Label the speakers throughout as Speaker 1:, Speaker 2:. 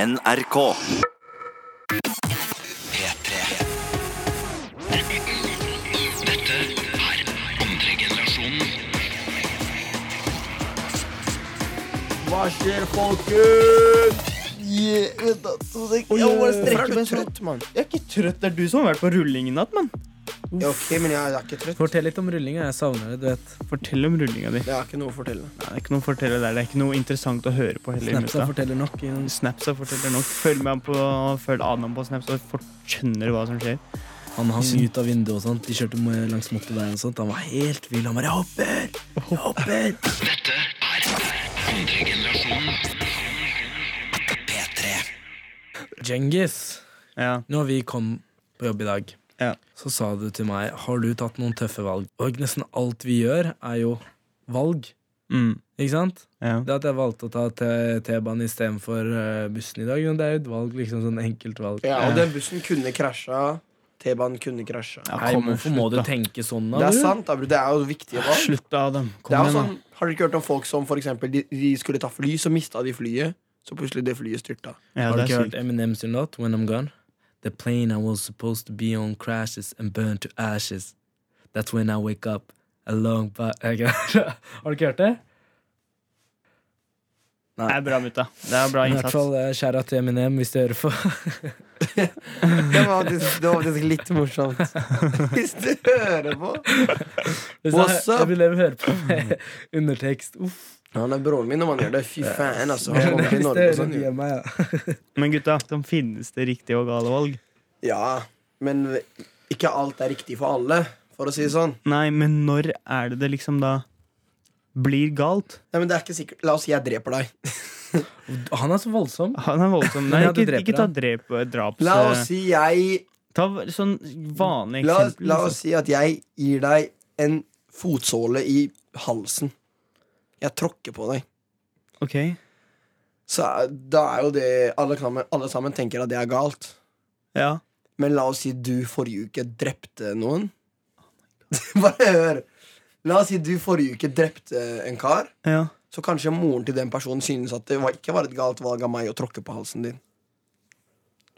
Speaker 1: NRK.
Speaker 2: Hva skjer, folkens?
Speaker 3: Yeah, vent da, to sek. Jeg må bare strekke meg sånn.
Speaker 4: mann?
Speaker 3: Jeg er ikke trøtt. Det er du som har vært på rulling i natt, mann.
Speaker 4: Ja, ok, men jeg er ikke trøtt.
Speaker 5: Fortell litt om rullinga. Jeg savner det, du vet.
Speaker 3: Fortell om rullinga di.
Speaker 4: Jeg har ikke noe å fortelle.
Speaker 3: Nei, det er ikke noe å fortelle der. Det er ikke noe interessant å høre på heller.
Speaker 5: Snapsa
Speaker 3: Snapsa,
Speaker 5: forteller nok. i en-
Speaker 3: Snapsa forteller nok. Følg med på, følg Adam på Snap, så folk skjønner hva som skjer.
Speaker 5: Han hang ut av vinduet og sånt. De kjørte med- langs motorveien og sånt. Han var helt vill. Han bare 'Jeg hopper! Jeg hopper!' Djengis,
Speaker 3: Ja.
Speaker 5: når vi kom på jobb i dag,
Speaker 3: Ja.
Speaker 5: så sa du til meg 'Har du tatt noen tøffe valg?' Og nesten alt vi gjør, er jo valg.
Speaker 3: Mm.
Speaker 5: Ikke sant?
Speaker 3: ja.
Speaker 5: Det at jeg valgte å ta T- T-banen istedenfor eh, bussen i dag, jo, det er jo et valg. liksom sånn enkelt valg
Speaker 4: Ja, og den bussen kunne krasja. T-banen kunne krasja.
Speaker 3: Ja,
Speaker 5: Nei,
Speaker 3: kom igjen,
Speaker 5: hvorfor
Speaker 3: slutt
Speaker 5: må du
Speaker 3: da.
Speaker 5: tenke sånn, da?
Speaker 4: Det er
Speaker 5: bror?
Speaker 4: sant, da, bro. Det er jo viktige valg.
Speaker 3: Slutt, da, Adam.
Speaker 4: Det er jo
Speaker 3: Kom igjen,
Speaker 4: sånn, har dere ikke hørt om folk som for eksempel, de, de skulle ta fly, så mista de flyet? Så plutselig det flyet styrta.
Speaker 3: da. Ja,
Speaker 5: Har du
Speaker 3: det
Speaker 5: ikke
Speaker 3: er
Speaker 5: hørt
Speaker 3: sykt.
Speaker 5: Eminem sin låt When I'm Gone? The plane I was supposed to be on crashes and burned to ashes. That's when I wake up along by Har du ikke hørt det?
Speaker 3: Det er bra, mutta. Det er bra
Speaker 5: I hvert fall
Speaker 3: innsats.
Speaker 5: eh, skjæra til Eminem hvis du hører på.
Speaker 4: Det var faktisk, det var faktisk litt morsomt. Hvis du hører på.
Speaker 5: Hvis
Speaker 4: What's
Speaker 5: jeg,
Speaker 4: up?
Speaker 5: jeg vil leve høre på med undertekst. Uff.
Speaker 4: Han er broren min når man gjør det. Fy faen, altså. Han kommer til
Speaker 5: Hvis du
Speaker 4: Norge og
Speaker 5: hører
Speaker 4: sånn.
Speaker 5: via meg, ja.
Speaker 3: Men gutta, de finnes det riktige og gale valg?
Speaker 4: Ja, men ikke alt er riktig for alle, for å si det sånn.
Speaker 3: Nei, men når er det det liksom da blir galt?
Speaker 4: Nei, men det er ikke sikkert La oss si jeg dreper deg.
Speaker 5: Han er så voldsom.
Speaker 3: Han er voldsom.
Speaker 5: Men
Speaker 3: Nei,
Speaker 5: ja, du
Speaker 3: ikke,
Speaker 5: dreper
Speaker 3: ikke ta drep, draps...
Speaker 4: La oss si jeg
Speaker 3: Ta v- sånn vanlig
Speaker 4: La, oss-
Speaker 3: eksempel. liksom.
Speaker 4: la oss si at jeg gir deg en fotsåle i halsen. Jeg tråkker på deg.
Speaker 3: liksom. Ok.
Speaker 4: Så er- da er jo det alle, sammen- alle sammen tenker at det er galt.
Speaker 3: Ja.
Speaker 4: Men la oss si du forrige uke drepte noen. Bare hør. La oss si du forrige uke drepte en kar.
Speaker 3: ja.
Speaker 4: Så kanskje moren til den personen synes at det var, ikke var et galt valg av meg å tråkke på halsen din.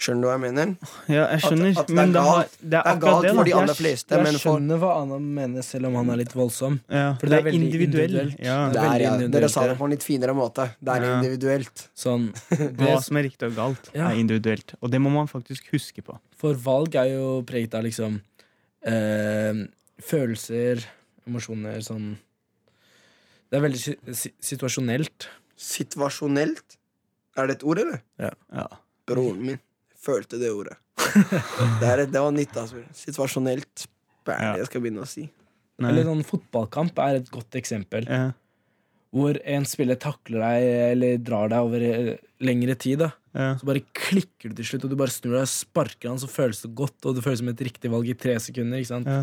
Speaker 4: Skjønner du hva jeg mener?
Speaker 3: Ja, jeg skjønner.
Speaker 4: at det er
Speaker 3: men det, har,
Speaker 4: galt.
Speaker 3: det er
Speaker 4: Det er
Speaker 3: akkurat
Speaker 4: galt
Speaker 3: det, da.
Speaker 4: for de
Speaker 3: Jeg
Speaker 4: aller
Speaker 3: skj-
Speaker 4: fleste,
Speaker 5: Jeg
Speaker 4: men for
Speaker 5: skjønner hva Anna mener, selv om han er litt voldsom.
Speaker 3: Ja,
Speaker 5: For
Speaker 3: for det
Speaker 5: det er
Speaker 3: er
Speaker 5: veldig
Speaker 3: individuelt.
Speaker 5: individuelt.
Speaker 3: Ja.
Speaker 5: Det er
Speaker 4: Der, ja.
Speaker 5: veldig
Speaker 4: Dere sa
Speaker 5: individuelt,
Speaker 4: det på en litt finere måte. Det er
Speaker 3: Ja.
Speaker 4: individuelt.
Speaker 5: Sånn,
Speaker 3: Hva
Speaker 5: det,
Speaker 3: som er riktig og galt,
Speaker 5: Ja.
Speaker 3: er individuelt. Og det må man faktisk huske på.
Speaker 5: For valg er jo preget av liksom eh, følelser, emosjoner, sånn Det er veldig si- si- situasjonelt.
Speaker 4: Situasjonelt? Er det et ord, eller?
Speaker 3: Ja.
Speaker 4: Broren min følte det ordet. det, er, et- det var nytt, altså. Situasjonelt. Hva er det jeg skal begynne å si?
Speaker 3: Nei.
Speaker 5: Eller sånn fotballkamp er et godt eksempel.
Speaker 3: Ja.
Speaker 5: Hvor en spiller takler deg eller drar deg over eh, lengre tid. da
Speaker 3: Ja.
Speaker 5: Så bare klikker du til slutt, og du bare snur deg og sparker han, så føles det godt, og det føles som et riktig valg i tre sekunder. ikke sant?
Speaker 3: Ja.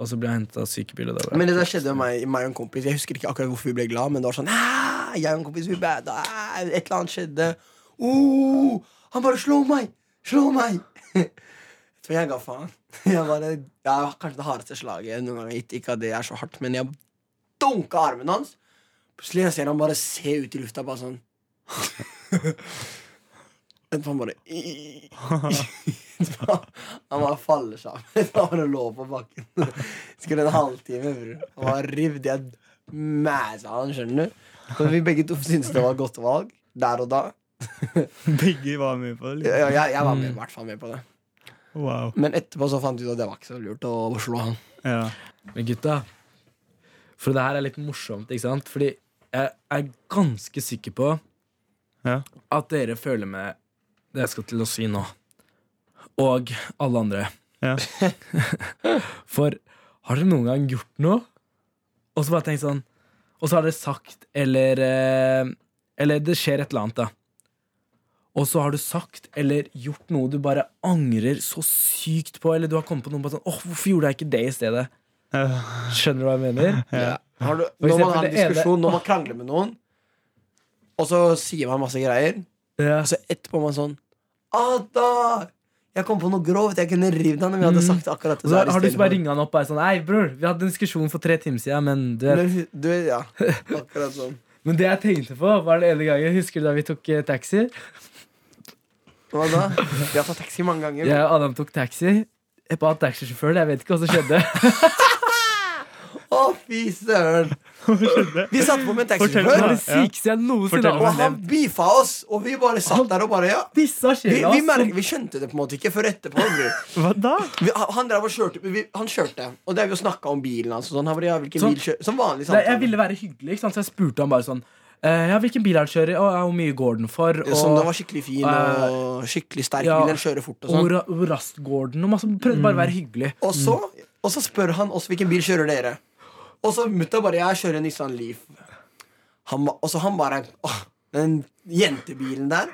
Speaker 5: Og så blir jeg henta av sykebil. og da bare-
Speaker 4: Men det der skjedde med meg, meg og en kompis. Jeg husker ikke akkurat hvorfor vi ble glad, men det var sånn «Ah, Jeg og en kompis, vi bad, ah, Et eller annet skjedde. Oh, han bare slo meg! Slå meg! Så jeg ga faen. Jeg bare, ja, kanskje det hardeste slaget jeg noen gang har gitt. Ikke at det er så hardt, men jeg dunka armen hans. Plutselig jeg ser han bare se ut i lufta, bare sånn. Han bare Han bare faller sammen. Han bare lå på bakken. Skulle en halvtime, bror. Han var rivd. Jeg mæsa han, skjønner du. Så vi begge to syntes det var et godt valg der og da.
Speaker 3: Begge var med på det.
Speaker 4: Jeg, jeg, jeg var
Speaker 5: Mm.
Speaker 4: med, i hvert fall med på det.
Speaker 3: liksom. Wow.
Speaker 4: Men etterpå så fant vi ut at det var ikke så lurt å slå han.
Speaker 3: Ja.
Speaker 5: Men gutta, for det her er litt morsomt, ikke sant? Fordi jeg er ganske sikker på
Speaker 3: Ja.
Speaker 5: at dere føler med det jeg skal til å si nå. Og alle andre.
Speaker 3: Ja.
Speaker 5: For har dere noen gang gjort noe, og så bare tenkt sånn Og så har dere sagt, eller eh, Eller det skjer et eller annet, da. Og så har du sagt eller gjort noe du bare angrer så sykt på, eller du har kommet på noe bare sånn Åh, hvorfor gjorde jeg ikke det i stedet?
Speaker 3: Ja.
Speaker 5: Skjønner du hva jeg mener?
Speaker 4: Har du,
Speaker 5: For
Speaker 4: når man
Speaker 5: eksempel
Speaker 4: har en
Speaker 5: det ene-
Speaker 4: diskusjon, når man krangler med noen, og så sier man masse greier,
Speaker 5: Ja.
Speaker 4: og så etterpå er man sånn Ada! Jeg kom på noe grovt. Jeg kunne rivd han om jeg hadde sagt akkurat det.
Speaker 5: Så Mm. har du
Speaker 4: istedenfor.»
Speaker 5: bare ringa han opp og er sånn Hei, bror, vi hadde en diskusjon for tre timer siden, men du vet
Speaker 4: Men, du, ja, akkurat sånn.
Speaker 5: Men det jeg tenkte på, var den ene gangen Husker du da vi tok eh, taxi?
Speaker 4: Hva da? Vi har tatt taxi mange ganger.
Speaker 5: Jeg og Adam tok taxi. Jeg ba taxisjåføren Jeg vet ikke hva som skjedde.
Speaker 4: Å, fy søren! Vi satte på med en
Speaker 5: Det var
Speaker 4: taxisjåfør,
Speaker 5: det sykeste jeg noensinne
Speaker 3: Fortell
Speaker 5: har
Speaker 4: og
Speaker 3: meg.
Speaker 4: han beefa oss. Og vi bare satt der og bare ja.
Speaker 5: Disse
Speaker 4: Vi,
Speaker 5: skjella
Speaker 4: vi, mer-
Speaker 5: oss.
Speaker 4: vi skjønte det på en måte ikke før etterpå. Vi.
Speaker 3: Hva da?
Speaker 4: Vi, han drev og kjørte, vi, han kjørte, og det har vi jo snakka om bilen hans. og Sånn, han bare, ja, hvilken
Speaker 5: Sånn.
Speaker 4: bil kjører Som vanlig
Speaker 5: Nei,
Speaker 4: samtale.
Speaker 5: jeg ville være hyggelig, ikke sant? så jeg spurte han bare sånn eh, Ja, hvilken bil han kjører, og ja, hvor mye går den for? Og,
Speaker 4: Som den sånn, var skikkelig fin og skikkelig sterk.
Speaker 5: ja,
Speaker 4: Vil den kjøre fort og
Speaker 5: og
Speaker 4: sånn. Mm.
Speaker 5: hvor, hvor raskt går den? Og masse, prøvde bare å være hyggelig.
Speaker 4: Og så, og så spør han oss hvilken bil kjører dere. Og så mutta bare jeg kjører en Nissan Leaf. Han, ba- og så han bare åh, den jentebilen der.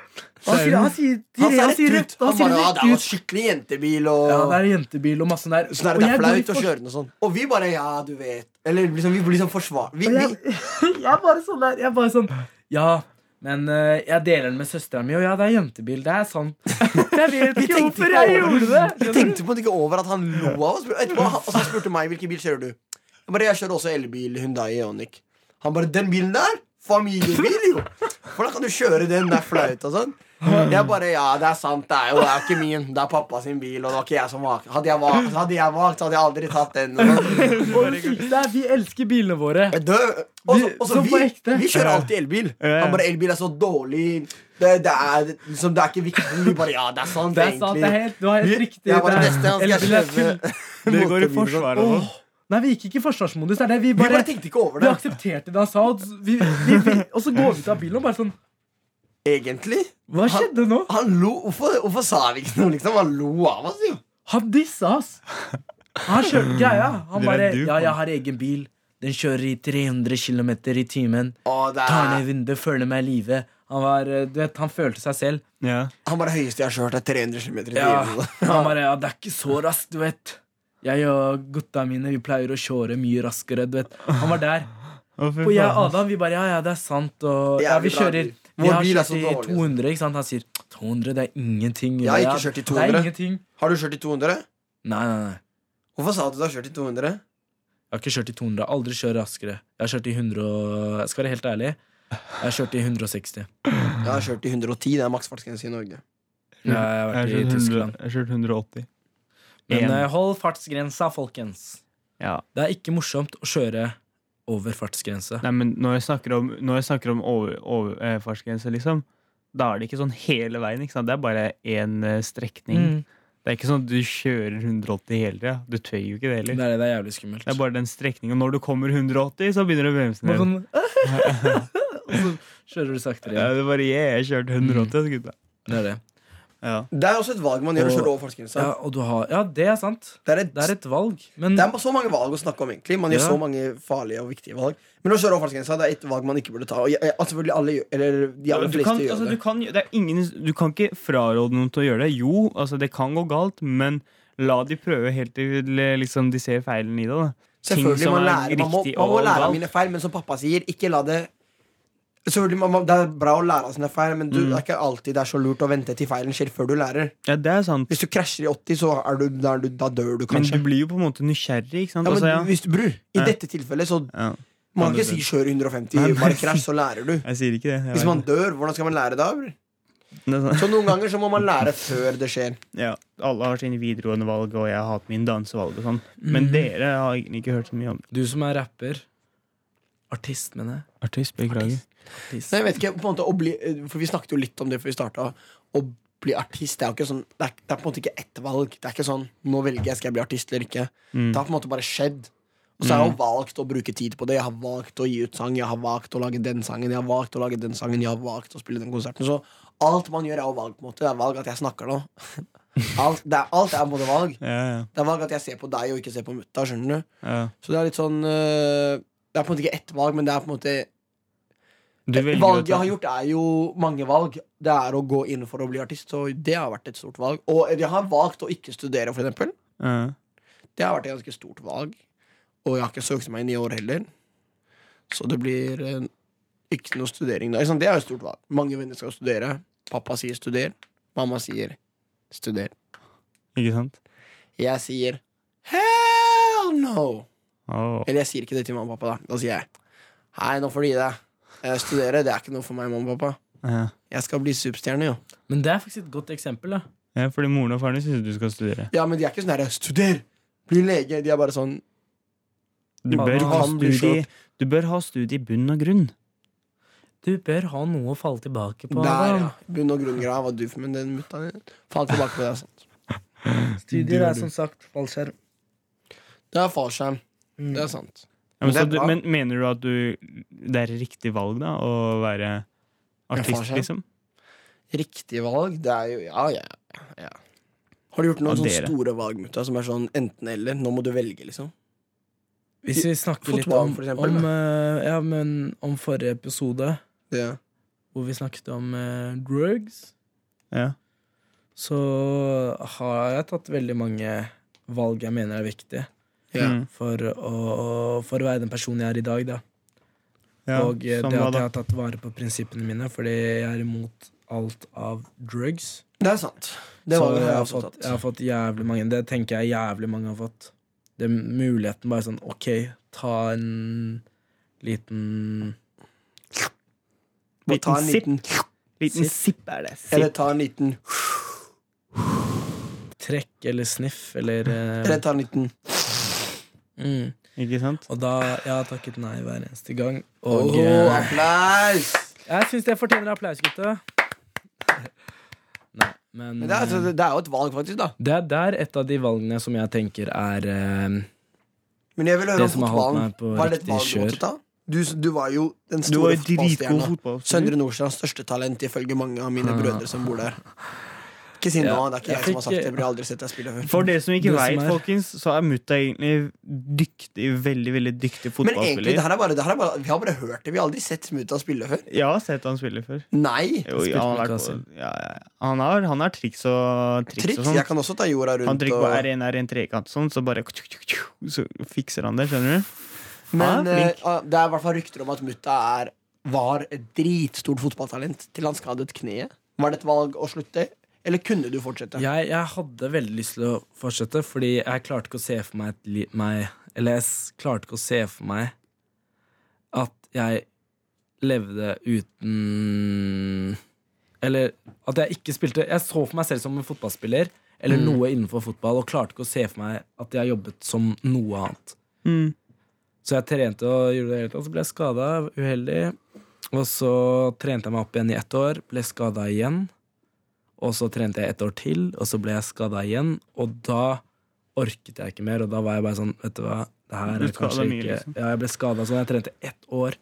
Speaker 4: Og
Speaker 5: Han sier, han sier,
Speaker 4: han sa
Speaker 5: han
Speaker 4: rett
Speaker 5: sier
Speaker 4: ut.
Speaker 5: rett, han
Speaker 4: Han
Speaker 5: sier
Speaker 4: bare, ja,
Speaker 5: rett
Speaker 4: det var
Speaker 5: ut.
Speaker 4: skikkelig jentebil og
Speaker 5: Ja, det er jentebil og masse der.
Speaker 4: Sånn er det,
Speaker 5: Og
Speaker 4: det
Speaker 5: jeg
Speaker 4: er
Speaker 5: går i
Speaker 4: flaut å
Speaker 5: fors-
Speaker 4: kjøre den og sånn. Og vi bare ja, du vet. Eller liksom, vi blir sånn forsvar... Vi,
Speaker 5: Og
Speaker 4: vi,
Speaker 5: Jeg, jeg er bare sånn der. Jeg er bare sånn Ja, men eh, jeg deler den med søstera mi, og ja, det er jentebil. Det er sant. Jeg vet
Speaker 4: Vi
Speaker 5: ikke
Speaker 4: tenkte
Speaker 5: hvorfor
Speaker 4: ikke
Speaker 5: jeg
Speaker 4: over
Speaker 5: gjorde det.
Speaker 4: Vi tenkte på det ikke over at han lo av oss. Etterpå, han- og så spurte han meg hvilken bil kjører du. Jeg bare, jeg kjører også elbil, Hyundai Ioniq. Han bare, den bilen der? Familiebil, jo! Hvordan kan du kjøre den? Det er flaut og sånn. Jeg bare, ja, det er sant. Det er jo det er jo ikke min. Det er pappa sin bil, og det var ikke jeg som valgte. Hadde jeg valgt, hadde jeg valgt så hadde jeg aldri tatt den. Og sånn.
Speaker 5: Og det sykeste er, vi elsker bilene våre.
Speaker 4: Jeg dør. Og så- og så
Speaker 5: Som på
Speaker 4: vi,
Speaker 5: ekte.
Speaker 4: vi kjører alltid elbil.
Speaker 3: Ja.
Speaker 4: Han bare, elbil er så dårlig. Det, det, er, liksom, det er ikke viktig. Vi bare, ja, det er sant,
Speaker 5: Det er sant, det er helt, du har helt riktig.
Speaker 4: Jeg var det
Speaker 5: Det er-
Speaker 4: beste. Han skal
Speaker 5: elbil er
Speaker 4: kjøre
Speaker 3: Dere går i
Speaker 4: motorbil.
Speaker 3: forsvar og sånn.
Speaker 5: Nei, vi gikk ikke i forsvarsmodus. Det er det. Vi
Speaker 4: Vi bare
Speaker 5: bare,
Speaker 4: tenkte ikke over
Speaker 5: vi
Speaker 4: det.
Speaker 5: aksepterte det han sa, og så- vi, vi, vi, og så går vi ut av bilen og bare sånn
Speaker 4: Egentlig.
Speaker 5: Hva skjedde nå?
Speaker 4: Han lo, hvorfor, hvorfor sa vi ikke noe, liksom? Han lo av oss, jo.
Speaker 5: Han dissa oss. Han kjørte greia.
Speaker 3: Dere
Speaker 5: Han
Speaker 3: er
Speaker 5: bare
Speaker 3: dupe.
Speaker 5: Ja, jeg har egen bil. Den kjører i 300 km i timen.
Speaker 4: Å, det
Speaker 5: Tar ned
Speaker 4: er,
Speaker 5: vinduet, føler meg i live. Han var, eh, du vet, han følte seg selv.
Speaker 3: Ja.
Speaker 4: han var det høyeste jeg har kjørt, er 300 km i
Speaker 5: Ja.
Speaker 4: timen.
Speaker 5: Han bare Ja, det er ikke så raskt, du vet. Jeg og gutta mine, vi pleier å kjøre mye raskere, du vet. Han var der.
Speaker 3: Å, fy
Speaker 5: Og jeg og
Speaker 3: faen.
Speaker 5: Adam, vi bare Ja, ja, det er sant, og ja,
Speaker 4: Jævlig
Speaker 5: vi
Speaker 4: bra
Speaker 5: kjører
Speaker 4: bil.
Speaker 5: Vi
Speaker 4: Vår
Speaker 5: har
Speaker 4: bil er
Speaker 5: kjørt
Speaker 4: så
Speaker 5: i
Speaker 4: dårlig,
Speaker 5: 200, ikke sant? Han sier 200, det er ingenting.
Speaker 4: Jeg har
Speaker 5: Ja,
Speaker 4: ikke kjørt i
Speaker 5: Det
Speaker 4: 200.
Speaker 5: er ingenting.
Speaker 4: Har du kjørt i 200?
Speaker 5: Nei, nei, nei.
Speaker 4: Hvorfor sa du du har kjørt i 200?
Speaker 5: Jeg har ikke kjørt i 200. Aldri kjør raskere. Jeg har kjørt i 100 og Jeg skal være helt ærlig. Jeg har kjørt i 160.
Speaker 4: Jeg har kjørt i 110. Det er maksfartsgrense i Norge.
Speaker 5: Jeg har
Speaker 3: Jeg har
Speaker 5: vært i
Speaker 3: kjørt 100
Speaker 5: Tyskland.
Speaker 3: jeg har kjørt 180.
Speaker 5: Men
Speaker 3: En.
Speaker 5: eh, hold fartsgrensa, folkens.
Speaker 3: Ja.
Speaker 5: Det er ikke morsomt å kjøre over fartsgrense.
Speaker 3: Nei, men når jeg snakker om, når jeg snakker om over, over, eh, fartsgrense, liksom, da er det ikke sånn hele veien. Ikke sant? Det er bare én eh, strekning.
Speaker 5: Mm.
Speaker 3: Det er ikke sånn at du kjører 180 hele tida. Du tør jo ikke det
Speaker 5: Det
Speaker 3: heller.
Speaker 5: er det, det er jævlig skummelt.
Speaker 3: Det er bare den strekningen. Når du kommer 180, så begynner du å bremse
Speaker 5: Bare
Speaker 3: ned.
Speaker 5: sånn Og så kjører du saktere
Speaker 3: Ja,
Speaker 5: igjen.
Speaker 3: det er bare yeah, jeg kjørte
Speaker 5: Mm.
Speaker 3: 180, ass, gutta.
Speaker 5: Det er det.
Speaker 3: Ja.
Speaker 4: Det er også et valg man gjør å
Speaker 5: Og-
Speaker 4: kjøre over fartsgrensa.
Speaker 5: Ja, og du har Ja, det er sant.
Speaker 4: Det er et
Speaker 5: Det er et valg. Men
Speaker 3: Mm.
Speaker 4: det er så mange valg å snakke om. egentlig Man gjør
Speaker 5: Ja.
Speaker 4: så mange farlige og viktige valg. Men å kjøre over fartsgrensa det er et valg man ikke burde ta. Og jeg, jeg, at selvfølgelig alle gjør, eller de aller
Speaker 3: Du
Speaker 4: fleste
Speaker 3: kan,
Speaker 4: gjør
Speaker 3: altså, du,
Speaker 4: det.
Speaker 3: kan, det er ingen, du kan ikke fraråde noen til å gjøre det. Jo, altså, det kan gå galt, men la de prøve helt til eh, liksom, de ser feilen i det. Da. Ting
Speaker 4: Selvfølgelig,
Speaker 3: som
Speaker 4: man,
Speaker 3: er
Speaker 4: lærer, man, må,
Speaker 3: riktig
Speaker 4: man må
Speaker 3: og
Speaker 4: lære av
Speaker 3: galt.
Speaker 4: mine feil, men som pappa sier, ikke la det Selvfølgelig, man, må- Det er bra å lære av sine feil, men du,
Speaker 3: Mm.
Speaker 4: det er ikke alltid det er så lurt å vente til feilen skjer før du lærer.
Speaker 3: Ja, det er sant.
Speaker 4: Hvis du krasjer i 80, så er du, da, er du, da dør du
Speaker 3: Men
Speaker 4: kanskje.
Speaker 3: du blir jo på en måte nysgjerrig, ikke sant?
Speaker 4: ja, men
Speaker 3: altså, ja.
Speaker 4: hvis du bror, i
Speaker 3: Ja.
Speaker 4: dette tilfellet, så
Speaker 3: Ja.
Speaker 4: Man kan
Speaker 3: Ja,
Speaker 4: ikke si
Speaker 3: det-
Speaker 4: 'kjør 150',
Speaker 3: Nei,
Speaker 4: bare
Speaker 3: nei.
Speaker 4: krasj, så lærer du.
Speaker 3: Jeg sier ikke det. jeg
Speaker 4: Hvis
Speaker 3: vet
Speaker 4: man
Speaker 3: det.
Speaker 4: dør, hvordan skal man lære da? bror?
Speaker 3: Det er sant.
Speaker 4: Så noen ganger så må man lære før det skjer.
Speaker 3: ja, alle har sine videregående valg, og jeg har hatt min dansevalg og sånn. Men dere har egentlig ikke hørt så mye om
Speaker 5: du som er rapper Artist, mener jeg.
Speaker 3: Artist, beklager.
Speaker 5: Artist.
Speaker 4: Nei, jeg vet ikke, på en måte, å bli, for Vi snakket jo litt om det før vi starta. Å bli artist det er jo ikke sånn det er, det er på en måte ikke ett valg. Det er ikke sånn 'nå velger jeg skal jeg bli artist eller ikke'. Det har på en måte bare skjedd. Og så har jeg jo valgt å bruke tid på det. Jeg har valgt å gi ut sang, jeg har valgt å lage den sangen, jeg har valgt å lage den sangen, jeg har valgt å spille den konserten. Så alt man gjør, er jo valg. på en måte Det er valg at jeg snakker nå. Alt, det er, alt er på en måte valg.
Speaker 3: Ja, ja,
Speaker 4: Det er valg at jeg ser på deg og ikke ser på mutta. skjønner du?
Speaker 3: ja.
Speaker 4: Så det er litt sånn øh, Det er på en måte ikke ett valg, men det er på en måte
Speaker 3: Du velger å
Speaker 4: Valget
Speaker 3: ta-
Speaker 4: jeg har gjort, er jo mange valg. Det er å gå inn for å bli artist, så det har vært et stort valg. Og jeg har valgt å ikke studere, for eksempel.
Speaker 3: Ja.
Speaker 4: Det har vært et ganske stort valg. Og jeg har ikke søkt meg inn i år heller. Så det blir eh, ikke noe studering der. Ikke sant? Det er jo et stort valg. Mange venner skal studere. Pappa sier studer. Mamma sier studer.
Speaker 3: Ikke sant?
Speaker 4: Jeg sier hell no!
Speaker 3: Åh.
Speaker 4: Eller jeg sier ikke det til mamma og pappa, da. Da sier jeg hei, nå får du gi deg. Eh, studere det er ikke noe for meg, mamma og pappa.
Speaker 3: Ja.
Speaker 4: Jeg skal bli superstjerne, jo.
Speaker 5: Men det er faktisk et godt eksempel. Da.
Speaker 3: ja, fordi moren og faren din syns du skal studere.
Speaker 4: Ja, men de er ikke sånn herre 'studer! Bli lege!' De er bare sånn
Speaker 3: Du
Speaker 5: Mamma
Speaker 3: bør, ha
Speaker 4: kan bli
Speaker 3: studie, du bør ha studie i bunn og grunn.
Speaker 5: Du bør ha noe å falle tilbake på.
Speaker 4: Der, ja.
Speaker 5: Adam.
Speaker 4: Bunn og grunn greia var du, men den mutta di falt tilbake på deg. Sånn.
Speaker 5: Studier er som sagt fallskjerm.
Speaker 4: Det er fallskjerm.
Speaker 5: Mm.
Speaker 4: Det er sant.
Speaker 3: Ja, men,
Speaker 4: Det er
Speaker 3: så du,
Speaker 4: bra.
Speaker 3: men mener du at du, det er riktig valg, da? Å være artist,
Speaker 4: forskjell.
Speaker 3: liksom?
Speaker 4: Riktig valg, det er jo Ja, ja, ja. Har du gjort noen
Speaker 3: Ja,
Speaker 4: sånne
Speaker 3: dere.
Speaker 4: store valg, mutta, som er sånn enten-eller? Nå må du velge, liksom.
Speaker 5: Hvis vi snakker litt
Speaker 4: Fotball,
Speaker 5: om,
Speaker 4: for eksempel,
Speaker 5: om, eh, ja, men om forrige episode,
Speaker 4: Det.
Speaker 5: hvor vi snakket om eh, drugs,
Speaker 3: Ja.
Speaker 5: så har jeg tatt veldig mange valg jeg mener er viktige
Speaker 4: Ja.
Speaker 3: Mm.
Speaker 5: for å, for å være den personen jeg er i dag. Da.
Speaker 3: ja.
Speaker 5: og eh,
Speaker 3: som
Speaker 5: det
Speaker 3: hva
Speaker 5: at
Speaker 3: da?
Speaker 5: jeg har tatt vare på prinsippene mine, fordi jeg er imot alt av drugs.
Speaker 4: det er sant. Det
Speaker 5: så
Speaker 4: var det
Speaker 5: jeg
Speaker 4: jeg
Speaker 5: har,
Speaker 4: også
Speaker 5: fått, jeg
Speaker 4: tatt.
Speaker 5: har fått jævlig mange. Det tenker jeg jævlig mange har fått. Det er muligheten bare sånn OK, ta en liten
Speaker 4: Må ta en
Speaker 3: Liten
Speaker 4: liten
Speaker 3: Liten sipp er det.
Speaker 4: Eller
Speaker 3: Sipp.
Speaker 4: ta en liten
Speaker 5: trekk eller sniff eller
Speaker 4: Eller
Speaker 5: eh,
Speaker 4: ta en liten
Speaker 5: mm.
Speaker 3: Ikke sant?
Speaker 5: Og da Jeg har takket nei hver eneste gang. Og
Speaker 4: Åh,
Speaker 5: eh,
Speaker 4: applaus!
Speaker 5: jeg syns det fortjener applaus, gutta. Nei, men eh,
Speaker 4: Men det, er, altså, det er jo et valg, faktisk, da.
Speaker 5: Det er der et av de valgene som jeg tenker er eh,
Speaker 4: Men jeg vil høre
Speaker 5: Det
Speaker 4: om
Speaker 5: som har holdt
Speaker 4: fotballen.
Speaker 5: meg på
Speaker 4: Var det et
Speaker 5: riktig
Speaker 4: valg du måtte
Speaker 5: kjør.
Speaker 4: ta? Du, du var jo den
Speaker 3: Du var
Speaker 4: store
Speaker 3: jo dritgod
Speaker 4: fotballstjerna. Søndre
Speaker 3: fotballspiller.
Speaker 4: Nordstrands største talent, ifølge mange av mine
Speaker 5: Ah.
Speaker 4: brødre som bor der. Ikke si
Speaker 5: Ja,
Speaker 4: nå, det er ikke
Speaker 5: jeg
Speaker 4: jeg, som har sagt
Speaker 5: fikk-
Speaker 4: det. for Jeg har aldri sett deg spille før.
Speaker 3: For dere som ikke
Speaker 5: Du som
Speaker 3: veit,
Speaker 5: er-
Speaker 3: folkens, så er mutta egentlig dyktig, veldig veldig
Speaker 4: Men
Speaker 3: dyktig
Speaker 4: egentlig, det
Speaker 3: fotballspiller.
Speaker 4: her er bare, det her er bare Vi har bare hørt det. Vi har aldri sett Smuta spille før.
Speaker 3: Jeg har sett han spille før.
Speaker 4: Nei.
Speaker 3: Jo,
Speaker 5: Spilte
Speaker 3: ja, han,
Speaker 5: med
Speaker 3: har vært
Speaker 5: Kasim.
Speaker 3: på- ja, ja. han, har, han har triks og, triks
Speaker 4: Triks.
Speaker 3: og sånn.
Speaker 4: Jeg kan også ta jorda
Speaker 3: Han
Speaker 4: rundt.
Speaker 3: trykker på
Speaker 4: og-
Speaker 3: R1, R1, trekant sånn, så bare Så fikser han det, skjønner du?
Speaker 4: Men
Speaker 3: Ja, flink.
Speaker 4: eh, det er i hvert fall rykter om at mutta er, var et dritstort fotballtalent til han skadet kneet. Var det et valg å slutte, eller kunne du fortsette?
Speaker 5: Jeg, jeg hadde veldig lyst til å fortsette, fordi jeg klarte ikke å se for meg, et li meg Eller jeg s- klarte ikke å se for meg at jeg levde uten Eller at jeg ikke spilte Jeg så for meg selv som en fotballspiller eller
Speaker 4: Mm.
Speaker 5: noe innenfor fotball, og klarte ikke å se for meg at jeg jobbet som noe annet.
Speaker 3: Mm.
Speaker 5: Så jeg trente og gjorde det hele tatt, så ble jeg skada, uheldig. Og så trente jeg meg opp igjen i ett år, ble skada igjen. Og så trente jeg ett år til, og så ble jeg skada igjen. Og da orket jeg ikke mer, og da var jeg bare sånn, vet du hva det her
Speaker 3: Du
Speaker 5: er kanskje
Speaker 3: skadet mye,
Speaker 5: ikke
Speaker 3: liksom.
Speaker 5: Ja, jeg ble skada sånn. Jeg trente ett år.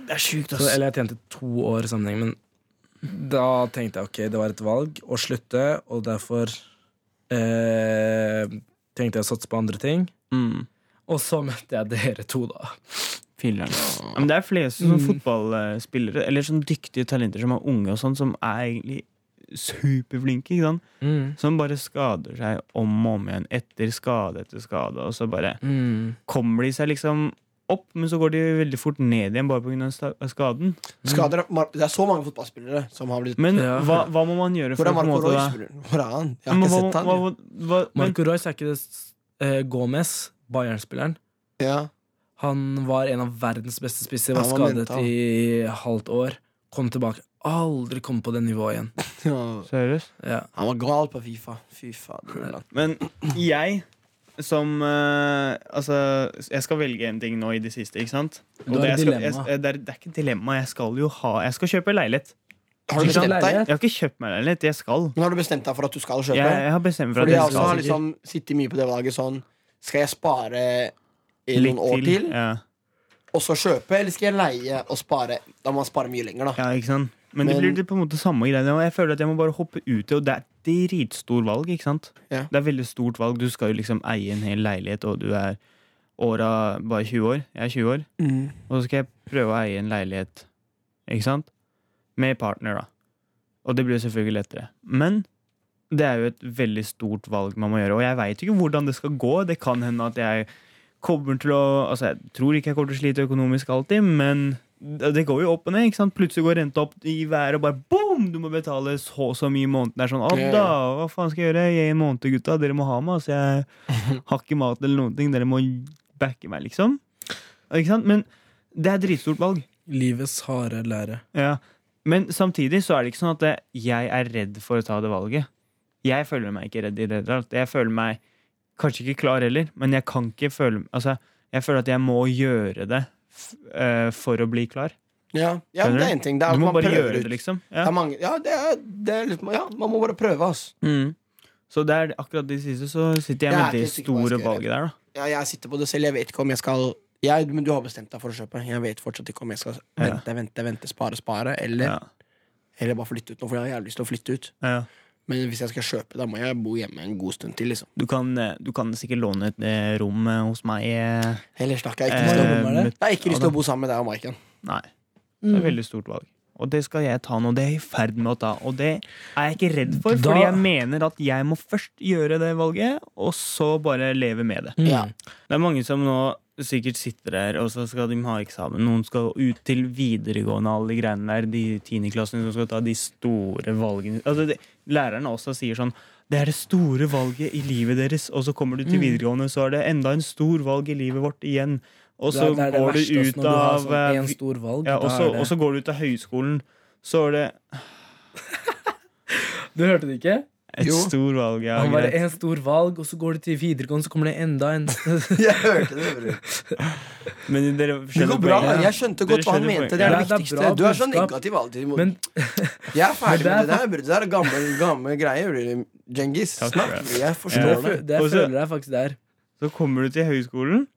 Speaker 4: Det er sjukt,
Speaker 5: Så, eller jeg tjente to år i sammenheng, men da tenkte jeg ok, det var et valg å slutte, og derfor eh, tenkte jeg å satse på andre ting.
Speaker 3: Mm.
Speaker 5: Og så møtte jeg dere to, da.
Speaker 3: Filler'n. Ja, men det er flest sånn
Speaker 4: Mm.
Speaker 3: fotballspillere, eller sånn dyktige talenter som er unge og sånn, som er egentlig superflinke, ikke sant? Som bare skader seg om og om igjen, etter skade etter skade, og så bare
Speaker 5: Mm.
Speaker 3: kommer de seg liksom opp, men så går de veldig fort ned igjen bare pga. skaden.
Speaker 4: Skader, Mar- det er så mange fotballspillere som har blitt
Speaker 3: Mm. Men
Speaker 5: Ja.
Speaker 3: hva, hva må man
Speaker 4: Hvor
Speaker 3: gjøre for
Speaker 4: er
Speaker 3: å på en
Speaker 4: Marco
Speaker 3: måte da-
Speaker 4: Royce? bror? Hvor er han? Jeg har
Speaker 3: Men
Speaker 4: ikke
Speaker 3: hva-
Speaker 4: sett han.
Speaker 3: hva- hva- men-
Speaker 5: Marco Royce er ikke det s- eh, Gomez, Bayern-spilleren.
Speaker 4: Ja.
Speaker 5: Han var en av verdens beste spisser, var
Speaker 4: Han var
Speaker 5: skadet
Speaker 4: mental.
Speaker 5: i halvt år. Kom tilbake. Aldri kom på det nivået igjen.
Speaker 4: Ja.
Speaker 3: Seriøst?
Speaker 5: Ja.
Speaker 4: Han var gal på Fifa. Fy fader.
Speaker 3: Men jeg som eh, Altså, jeg skal velge en ting nå i det siste, ikke sant?
Speaker 5: Du har
Speaker 3: det, jeg
Speaker 5: et
Speaker 3: skal, jeg,
Speaker 5: dilemma.
Speaker 3: det, er, det er ikke et dilemma. Jeg skal jo ha Jeg skal kjøpe leilighet.
Speaker 4: Har du
Speaker 5: Fikk han
Speaker 4: bestemt deg?
Speaker 5: leilighet?
Speaker 3: Jeg har ikke kjøpt meg leilighet. Jeg skal.
Speaker 4: Men har du bestemt deg for at du skal
Speaker 3: Jeg,
Speaker 4: kjøpe?
Speaker 3: jeg har bestemt for
Speaker 4: Fordi
Speaker 3: at
Speaker 4: jeg
Speaker 3: jeg
Speaker 4: også har
Speaker 3: skal.
Speaker 4: liksom sittet mye på det valget sånn Skal jeg spare i noen år til,
Speaker 3: Ja.
Speaker 4: og så kjøpe, eller skal jeg leie og spare? Da må man spare mye lenger, da.
Speaker 3: ja, ikke sant? Men, det
Speaker 4: Men-
Speaker 3: blir på en måte samme greia. Og jeg føler at jeg må bare hoppe ut i Og det er et dritstor valg, ikke sant?
Speaker 4: Ja.
Speaker 3: Det er veldig stort valg. Du skal jo liksom eie en hel leilighet, og du er åra bare 20 år. Jeg er 20 år. Og så skal jeg prøve å eie en leilighet, ikke sant? Med partner, da. Og det blir jo selvfølgelig lettere. Men det er jo et veldig stort valg man må gjøre, og jeg veit ikke hvordan det skal gå. Det kan hende at jeg kommer til å Altså, jeg tror ikke jeg kommer til å slite økonomisk alltid, men det det går jo opp og ned. ikke sant? Plutselig går renta opp i været, og bare boom! Du må betale så og så mye i måneden. Det er sånn,
Speaker 4: Ja,
Speaker 3: «Å
Speaker 4: ja.
Speaker 3: da, hva faen skal jeg gjøre? Jeg er en måned, gutta. Dere må ha meg. altså Jeg har ikke mat eller noen ting. Dere må backe meg, liksom. Ikke sant? Men det er et dritstort valg.
Speaker 5: Livets harde lære.
Speaker 3: Ja. Men samtidig så er det ikke sånn at det- jeg er redd for å ta det valget. Jeg føler meg ikke redd i det hele tatt. Jeg føler meg kanskje ikke klar heller, men jeg kan ikke føle Altså, jeg føler at jeg må gjøre det f eh, for å bli klar.
Speaker 4: Ja, ja men det er en ting. Det er,
Speaker 3: du må
Speaker 4: man
Speaker 3: bare
Speaker 4: prøver
Speaker 3: gjøre
Speaker 4: ut.
Speaker 3: det, liksom.
Speaker 4: Det
Speaker 3: Ja.
Speaker 4: er mange, ja, det er, det er litt, ja, man må bare prøve, ass.
Speaker 3: Mm. Så det er akkurat de siste, så sitter
Speaker 4: Jeg
Speaker 3: jeg med
Speaker 4: er
Speaker 3: det
Speaker 4: ikke sikker på hva jeg
Speaker 3: store
Speaker 4: skal
Speaker 3: valget der, da.
Speaker 4: Ja, jeg sitter på det selv. Jeg vet ikke om jeg skal jeg, Men du har bestemt deg for å kjøpe. Jeg vet fortsatt ikke om jeg skal vente, vente, vente, spare, spare, eller,
Speaker 3: Ja.
Speaker 4: eller bare flytte ut nå, for jeg har jævlig lyst til å flytte ut.
Speaker 3: Ja.
Speaker 4: Men hvis jeg skal kjøpe, da må jeg bo hjemme en god stund til, liksom.
Speaker 3: Du, kan, eh, du kan sikkert låne et eh, rom eh, hos meg. eh,
Speaker 4: Ellers snakker jeg ikke lyst til å bo
Speaker 5: Eh,
Speaker 3: eh,
Speaker 5: rommet er det?
Speaker 3: mitt-
Speaker 4: Jeg har ikke lyst til
Speaker 3: Adam.
Speaker 4: å bo sammen med deg og Maiken.
Speaker 3: Nei. Det
Speaker 5: Mm.
Speaker 3: er et veldig stort valg. Og det skal jeg ta nå. Det er jeg i ferd med å ta. Og det er jeg ikke redd for,
Speaker 5: Da-
Speaker 3: fordi jeg mener at jeg må først gjøre det valget, og så bare leve med
Speaker 5: Mm.
Speaker 3: det.
Speaker 4: Ja.
Speaker 3: Det er mange som nå sikkert sitter der, og så skal de ha eksamen. Noen skal ut til videregående, alle de greiene der. De tiendeklassene som skal ta de store valgene. Altså, det, lærerne også sier sånn Det er det store valget i livet deres. Og så kommer du til
Speaker 5: Mm.
Speaker 3: videregående, så er det enda en stor valg i livet vårt igjen. Og så
Speaker 5: Det er det
Speaker 3: går
Speaker 5: verste, ass,
Speaker 3: du
Speaker 5: når
Speaker 3: ut
Speaker 5: har
Speaker 3: av
Speaker 5: sånn
Speaker 3: eh,
Speaker 5: en stor valg.
Speaker 3: ja,
Speaker 5: da
Speaker 3: og så,
Speaker 5: er det-
Speaker 3: og så går du ut av høyskolen, så er det
Speaker 5: Du hørte det ikke?
Speaker 3: et
Speaker 4: Jo.
Speaker 3: stor valg. Ja,
Speaker 5: Han bare
Speaker 3: greit.
Speaker 5: en stor valg, og så går det til videregående, så kommer det enda en.
Speaker 4: Jeg hørte det, bror.
Speaker 3: Men dere
Speaker 4: Det
Speaker 3: skjønner
Speaker 4: går bra.
Speaker 3: poenget.
Speaker 4: Jeg skjønte
Speaker 3: Dere
Speaker 4: godt hva han
Speaker 3: skjønner
Speaker 4: mente.
Speaker 3: poenget.
Speaker 4: Det er det
Speaker 5: Ja, det er
Speaker 4: viktigste.
Speaker 5: bra
Speaker 4: Du er så
Speaker 5: budskap.
Speaker 4: negativ alltid. imot-
Speaker 5: Men
Speaker 4: Jeg er ferdig
Speaker 5: Men det
Speaker 4: med det
Speaker 5: er
Speaker 4: der. bror. Det der er gammel, gammel greie. bror. Djengis.
Speaker 3: Takk
Speaker 4: Snakk.
Speaker 3: for det.
Speaker 4: bror. Jeg
Speaker 5: det,
Speaker 4: forstår det.
Speaker 5: fø- det jeg
Speaker 3: Og så-
Speaker 5: føler jeg faktisk der.
Speaker 3: Så kommer du til høyskolen,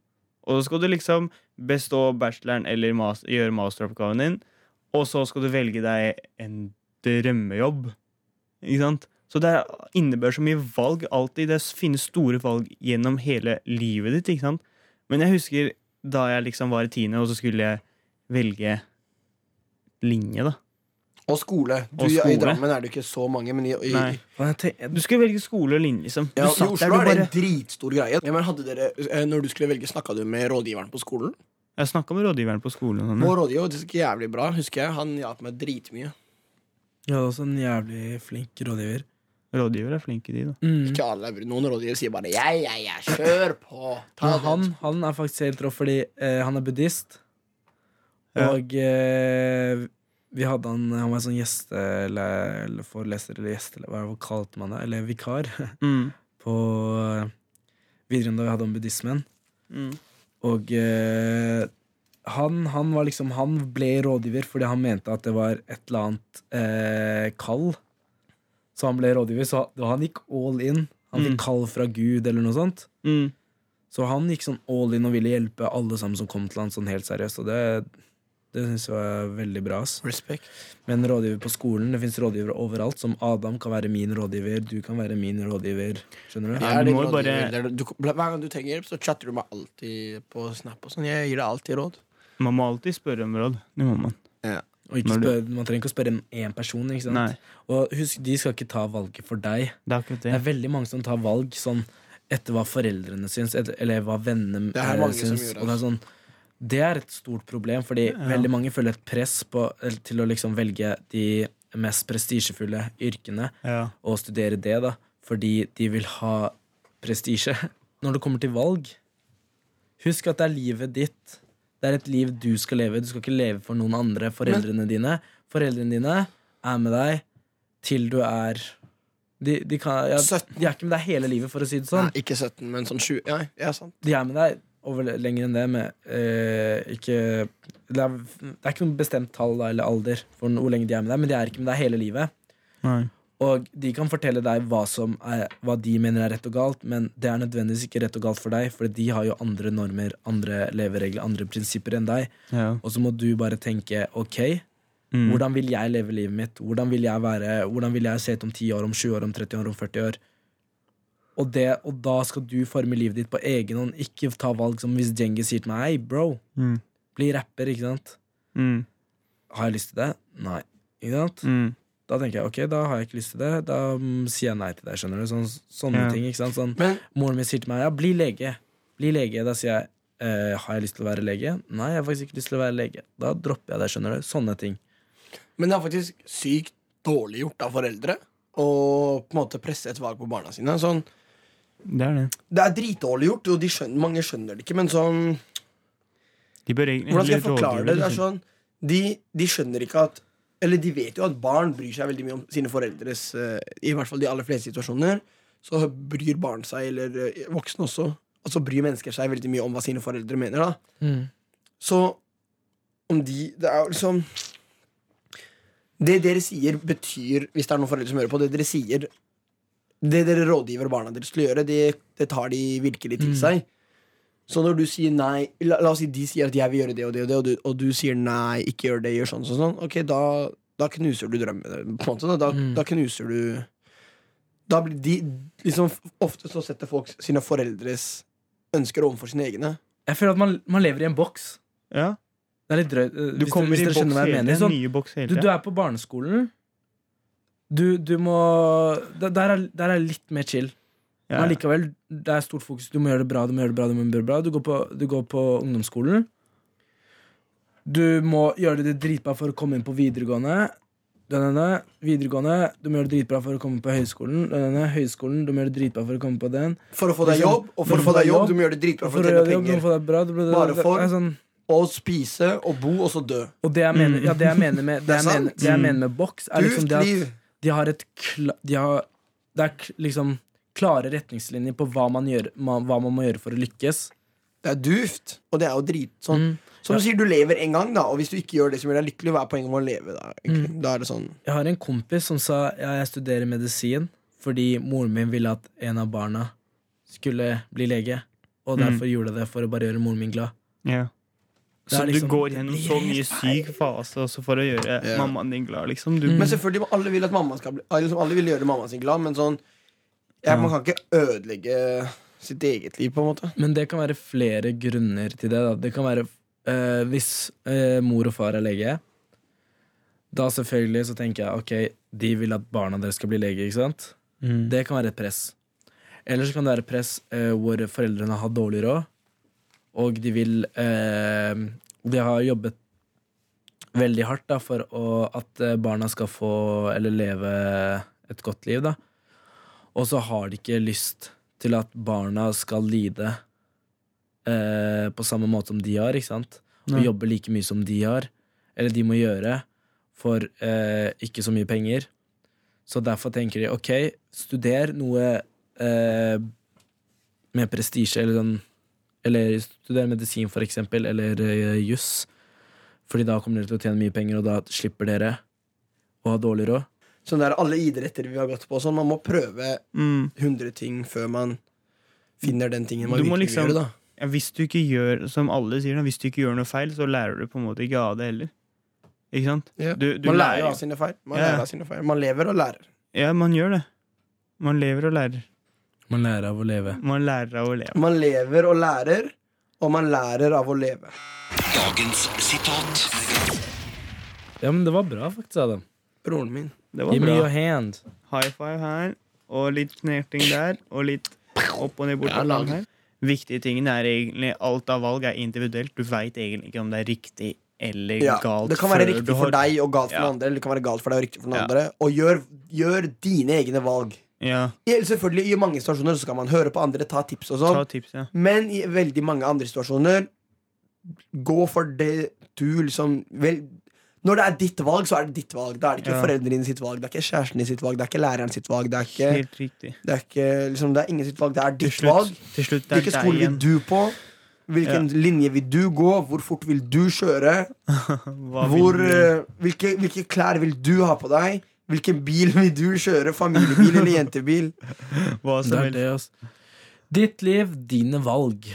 Speaker 3: og så skal du liksom bestå bacheloren eller mas gjøre masteroppgaven din, og så skal du velge deg en drømmejobb. Ikke sant? Så det er- innebærer så mye valg alltid. Det finnes store valg gjennom hele livet ditt. ikke sant? Men jeg husker da jeg liksom var i tiende, og så skulle jeg velge linje, da.
Speaker 4: Og skole. Du,
Speaker 3: Og
Speaker 4: I
Speaker 3: skole.
Speaker 4: Drammen er det ikke så mange, men i, i,
Speaker 3: Nei.
Speaker 5: Faen, jeg tenk-
Speaker 3: Du skulle velge skole og linje, liksom.
Speaker 4: ja,
Speaker 3: du
Speaker 4: i
Speaker 3: satt
Speaker 4: Oslo
Speaker 3: der, du
Speaker 4: er det
Speaker 3: bare
Speaker 4: en dritstor greie. Ja, men hadde dere, eh, når du skulle velge, snakka du med rådgiveren på skolen?
Speaker 3: Jeg snakka med rådgiveren på skolen. og sånn,
Speaker 4: Og rådgiver det gikk jævlig bra, husker jeg. Han hjalp meg dritmye.
Speaker 3: Mm.
Speaker 5: Jeg hadde også en jævlig flink rådgiver.
Speaker 3: ja. Rådgiver er flink i de, da.
Speaker 5: Mm.
Speaker 4: Ikke alle, bror. Noen rådgivere sier bare 'ja, ja, ja, kjør på'. Ta
Speaker 5: Men
Speaker 4: det.
Speaker 5: han, han er faktisk helt rå fordi eh, han er buddhist.
Speaker 3: Ja.
Speaker 5: Og eh, vi hadde han Han var en sånn gjesteforeleser eller gjeste... eller Hva kalte man det? Eller vikar
Speaker 3: Mm.
Speaker 5: på eh, videregående. Vi hadde om buddhismen.
Speaker 3: Mm.
Speaker 5: Og eh, han, han var liksom Han ble rådgiver fordi han mente at det var et eller annet eh, kall. Så han ble rådgiver. Så han- han gikk all in. Han fikk
Speaker 3: Mm.
Speaker 5: kall fra Gud eller noe sånt.
Speaker 3: Mm.
Speaker 5: Så han gikk sånn all in og ville hjelpe alle sammen som kom til han sånn helt seriøst. Og det, det syns jeg var veldig bra. ass.
Speaker 4: Respekt.
Speaker 5: Men rådgiver på skolen, det fins rådgivere overalt. Som Adam kan være min rådgiver, du kan være min rådgiver. Skjønner du?
Speaker 3: Ja.
Speaker 4: Jeg er
Speaker 3: du
Speaker 4: din
Speaker 3: må jo
Speaker 4: rådgiver.
Speaker 3: bare-
Speaker 4: Det er- du- Hver gang du trenger hjelp, så chatter du meg alltid på Snap. og sånn Jeg gir deg alltid råd.
Speaker 3: Man må alltid spørre om råd. Det må man.
Speaker 5: Og ikke
Speaker 3: Når du-
Speaker 5: spør, man trenger ikke å spørre én person. Ikke sant?
Speaker 3: Nei,
Speaker 5: Og husk, de skal ikke ta valget for deg.
Speaker 3: det er akkurat
Speaker 5: Det er
Speaker 3: det.
Speaker 5: veldig mange som tar valg sånn etter hva foreldrene syns, et- eller hva vennene
Speaker 4: Det er
Speaker 5: eh,
Speaker 4: mange som
Speaker 5: syns.
Speaker 4: gjør det, altså.
Speaker 5: Og det, er sånn, det er et stort problem, fordi veldig mange føler et press på, eller til å liksom velge de mest prestisjefulle yrkene
Speaker 3: Ja.
Speaker 5: og studere det, da, fordi de vil ha prestisje. Når det kommer til valg, husk at det er livet ditt. Det er et liv du skal leve. Du skal ikke leve for noen andre. Foreldrene dine Foreldrene dine er med deg til du er de, de, kan, ja,
Speaker 4: Sytten.
Speaker 5: de er ikke med deg hele livet, for å si det
Speaker 4: Nei,
Speaker 5: sånn.
Speaker 4: ikke 17, men sånn 20. Ja, ja, sant.
Speaker 5: De er med deg over lenger enn det, med eh, ikke det er, det er ikke noe bestemt tall da, eller alder for hvor lenge de er med deg, men de er ikke med deg hele livet.
Speaker 3: Nei.
Speaker 5: Og de kan fortelle deg hva, som er, hva de mener er rett og galt, men det er nødvendigvis ikke rett og galt for deg, for de har jo andre normer, andre leveregler, andre prinsipper enn deg.
Speaker 3: Ja.
Speaker 5: Og så må du bare tenke ok,
Speaker 3: Mm.
Speaker 5: hvordan vil jeg leve livet mitt? Hvordan vil jeg være, hvordan vil jeg se ut om 10 år, om 20 år, om 30 år, om 40 år? Og, det, og da skal du forme livet ditt på egen hånd, ikke ta valg som hvis Djengis sier til meg hei, bro,
Speaker 3: Mm.
Speaker 5: bli rapper, ikke sant?
Speaker 3: Mm.
Speaker 5: Har jeg lyst til det? Nei. Ikke sant?
Speaker 3: Mm.
Speaker 5: Da tenker jeg ok, da har jeg ikke lyst til det. Da mm, sier jeg nei til deg. skjønner du sånn,
Speaker 3: Ja.
Speaker 5: Sånne ting. ikke sant sånn,
Speaker 4: Men
Speaker 5: Moren min sier til meg ja, bli lege. Bli lege, Da sier jeg eh, har jeg lyst til å være lege? Nei, jeg har faktisk ikke lyst til å være lege. Da dropper jeg det. skjønner du Sånne ting.
Speaker 4: Men det er faktisk sykt dårlig gjort av foreldre å på en måte presse et valg på barna sine. Sånn,
Speaker 3: Det er det.
Speaker 4: det er dritdårlig gjort, og de skjønner, mange skjønner det ikke, men sånn
Speaker 3: De bør egentlig
Speaker 4: Hvordan skal jeg
Speaker 3: eller
Speaker 4: forklare det?
Speaker 3: rådgiver,
Speaker 4: Det er
Speaker 3: liksom.
Speaker 4: sånn de, de skjønner ikke at Eller de vet jo at barn bryr seg veldig mye om sine foreldres eh, I hvert fall de aller fleste situasjoner. Så bryr barn seg, eller eh, voksne også, altså bryr mennesker seg veldig mye om hva sine foreldre mener. da
Speaker 5: Mm.
Speaker 4: Så om de Det er jo liksom Det dere sier, betyr Hvis det er noen foreldre som hører på, det dere sier Det dere rådgiver barna deres til å gjøre, det, det tar de virkelig til
Speaker 5: Mm.
Speaker 4: seg. Så når du sier nei La, la oss si de sier at jeg vil gjøre det og det og det, og du, og du sier nei, ikke gjør det, gjør sånn og sånn, sånn. Ok, da, da knuser du drømmen. På en måte, da, da,
Speaker 5: Mm.
Speaker 4: da knuser du Da blir de liksom Ofte så setter folk sine foreldres ønsker overfor sine egne.
Speaker 5: Jeg føler at man, man lever i en boks.
Speaker 3: Ja.
Speaker 5: Det er litt drøyt. eh,
Speaker 3: Du
Speaker 5: hvis,
Speaker 3: kommer
Speaker 5: hvis
Speaker 3: i
Speaker 5: dere
Speaker 3: boks
Speaker 5: skjønner hva jeg
Speaker 3: hele
Speaker 5: mener.
Speaker 3: tiden.
Speaker 5: Sånn,
Speaker 3: Nye boks hele
Speaker 5: du, du
Speaker 3: tiden.
Speaker 5: er på barneskolen. Du, du må Der der er, der er litt mer chill.
Speaker 3: Ja,
Speaker 5: Men likevel, det er stort fokus. Du må gjøre det bra, du må gjøre det bra. Du, må gjøre det bra. du, går, på, du går på ungdomsskolen. Du må gjøre det dritbra for å komme inn på videregående. Denne, videregående. Du må gjøre det dritbra for å komme på høyskolen. Denne, høyskolen. Du må gjøre det dritbra for å komme på den.
Speaker 4: For å få deg
Speaker 5: Liksom,
Speaker 4: jobb, og for å få deg jobb, du må gjøre det
Speaker 5: For
Speaker 4: dritbra for å
Speaker 5: å gjøre
Speaker 4: tjene
Speaker 5: det jobb, du må
Speaker 4: penger.
Speaker 5: få deg bra. Du, du, du,
Speaker 4: Bare
Speaker 5: det
Speaker 4: for-
Speaker 5: er sånn,
Speaker 4: Og spise og bo, og så dø.
Speaker 5: og det jeg mener,
Speaker 3: Mm.
Speaker 5: ja, det jeg mener med, det
Speaker 4: Det er
Speaker 5: jeg mener,
Speaker 4: sant.
Speaker 5: det jeg mener med boks, er liksom
Speaker 4: Dyrt
Speaker 5: det at
Speaker 4: liv.
Speaker 5: de har et kla, de har, Det er k- liksom klare retningslinjer på hva man, gjør, ma- hva man må gjøre for å lykkes.
Speaker 4: Det er duft, og det er jo drit. Sånn.
Speaker 5: Mm.
Speaker 4: Som du sier, du lever en gang, da, og hvis du ikke gjør det som gjør deg lykkelig, hva er poenget med å leve da? egentlig? Da er det sånn
Speaker 5: Jeg har en kompis som sa ja, jeg studerer medisin fordi moren min ville at en av barna skulle bli lege. Og
Speaker 3: Mm.
Speaker 5: derfor gjorde jeg det for å bare gjøre moren min glad.
Speaker 3: ja.
Speaker 5: Det
Speaker 3: Så
Speaker 5: er liksom-
Speaker 3: du går gjennom så mye syk fase også for å gjøre
Speaker 4: Ja. Mm.
Speaker 3: mammaen din glad, liksom. Du,
Speaker 4: Men selvfølgelig, alle vil at mamma skal bli alle- liksom, Alle vil gjøre mammaen sin glad, men sånn ja, Man kan ikke ødelegge sitt eget liv, på en måte.
Speaker 5: Men det kan være flere grunner til det. Da. Det kan være eh, hvis eh, mor og far er lege. Da selvfølgelig så tenker jeg ok, de vil at barna deres skal bli lege. ikke sant?
Speaker 3: Mm.
Speaker 5: Det kan være et press. Eller så kan det være et press eh, hvor foreldrene har dårlig råd, og de vil eh, De har jobbet veldig hardt da, for å, at eh, barna skal få eller leve et godt liv, da. Og så har de ikke lyst til at barna skal lide eh, på samme måte som de har, ikke sant? Og
Speaker 3: Nei.
Speaker 5: jobbe like mye som de har, eller de må gjøre, for eh, ikke så mye penger. Så derfor tenker de ok, studer noe eh, med prestisje, eller sånn Eller studer medisin, for eksempel, eller eh, juss. Fordi da kommer dere til å tjene mye penger, og da slipper dere å ha dårlig råd.
Speaker 4: Sånn der alle idretter vi har gått på og sånn. Man må prøve
Speaker 3: Mm.
Speaker 4: 100 ting før man finner den tingen man
Speaker 3: Du må
Speaker 4: virkelig
Speaker 3: liksom-
Speaker 4: vil gjøre, da.
Speaker 3: ja, hvis du ikke gjør som alle sier, da, hvis du ikke gjør noe feil, så lærer du på en måte ikke av det heller. Ikke sant?
Speaker 4: Ja.
Speaker 3: Du, du
Speaker 4: man lærer jo av sine feil. Man,
Speaker 3: Ja, ja.
Speaker 4: lærer av sine feil. man lever og lærer.
Speaker 3: Ja, man gjør det. Man lever og lærer.
Speaker 5: Man lærer av å leve.
Speaker 3: Man lærer av å leve.
Speaker 4: Man lever og lærer, og man lærer av å leve.
Speaker 1: Dagens sitat.
Speaker 5: Ja, men det var bra, faktisk, Adam.
Speaker 4: Broren min.
Speaker 3: Det var
Speaker 5: Give me
Speaker 3: bra.
Speaker 5: your hand.
Speaker 3: High five her, og litt knerting der, og litt opp og ned bort.
Speaker 4: Ja, lag.
Speaker 3: her. Viktige tingen er egentlig Alt av valg er individuelt. Du veit egentlig ikke om det er riktig eller
Speaker 4: Ja,
Speaker 3: galt.
Speaker 4: det kan være
Speaker 3: før du
Speaker 4: riktig
Speaker 3: har-
Speaker 4: for deg og galt for
Speaker 3: Ja.
Speaker 4: den andre. Eller det kan være galt for deg og riktig for den
Speaker 3: Ja.
Speaker 4: andre Og gjør, gjør dine egne valg.
Speaker 3: Ja,
Speaker 4: I, selvfølgelig I mange situasjoner så skal man høre på andre, ta tips og
Speaker 3: ta
Speaker 4: sånn.
Speaker 3: tips, ja.
Speaker 4: Men i veldig mange andre situasjoner, gå for det du liksom vel, Når det er ditt valg, så er det ditt valg. Da er det ikke
Speaker 3: Ja.
Speaker 4: foreldrene dine sitt valg, det er ikke kjæresten din sitt valg, det er ikke læreren sitt valg. Det er ikke,
Speaker 3: Helt riktig.
Speaker 4: det er ikke liksom, det er ingen sitt valg, det er
Speaker 3: Til
Speaker 4: ditt valg.
Speaker 3: slutt, til slutt det er
Speaker 4: Hvilken
Speaker 3: deg
Speaker 4: skole vil
Speaker 3: igjen.
Speaker 4: du på? Hvilken linje vil du gå? Hvor fort vil du kjøre?
Speaker 3: Hva vil
Speaker 4: Hvor,
Speaker 3: du?
Speaker 4: eh, hvilke, hvilke klær vil du ha på deg? Hvilken bil vil du kjøre? Familiebil eller jentebil?
Speaker 3: Hva
Speaker 5: Det
Speaker 3: som
Speaker 5: er
Speaker 3: helst.
Speaker 5: det, altså. Ditt liv, dine valg.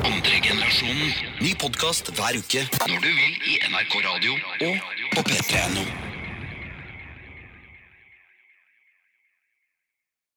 Speaker 1: Andre generasjonen. Ny podkast hver uke når du vil i NRK Radio og på p3.no.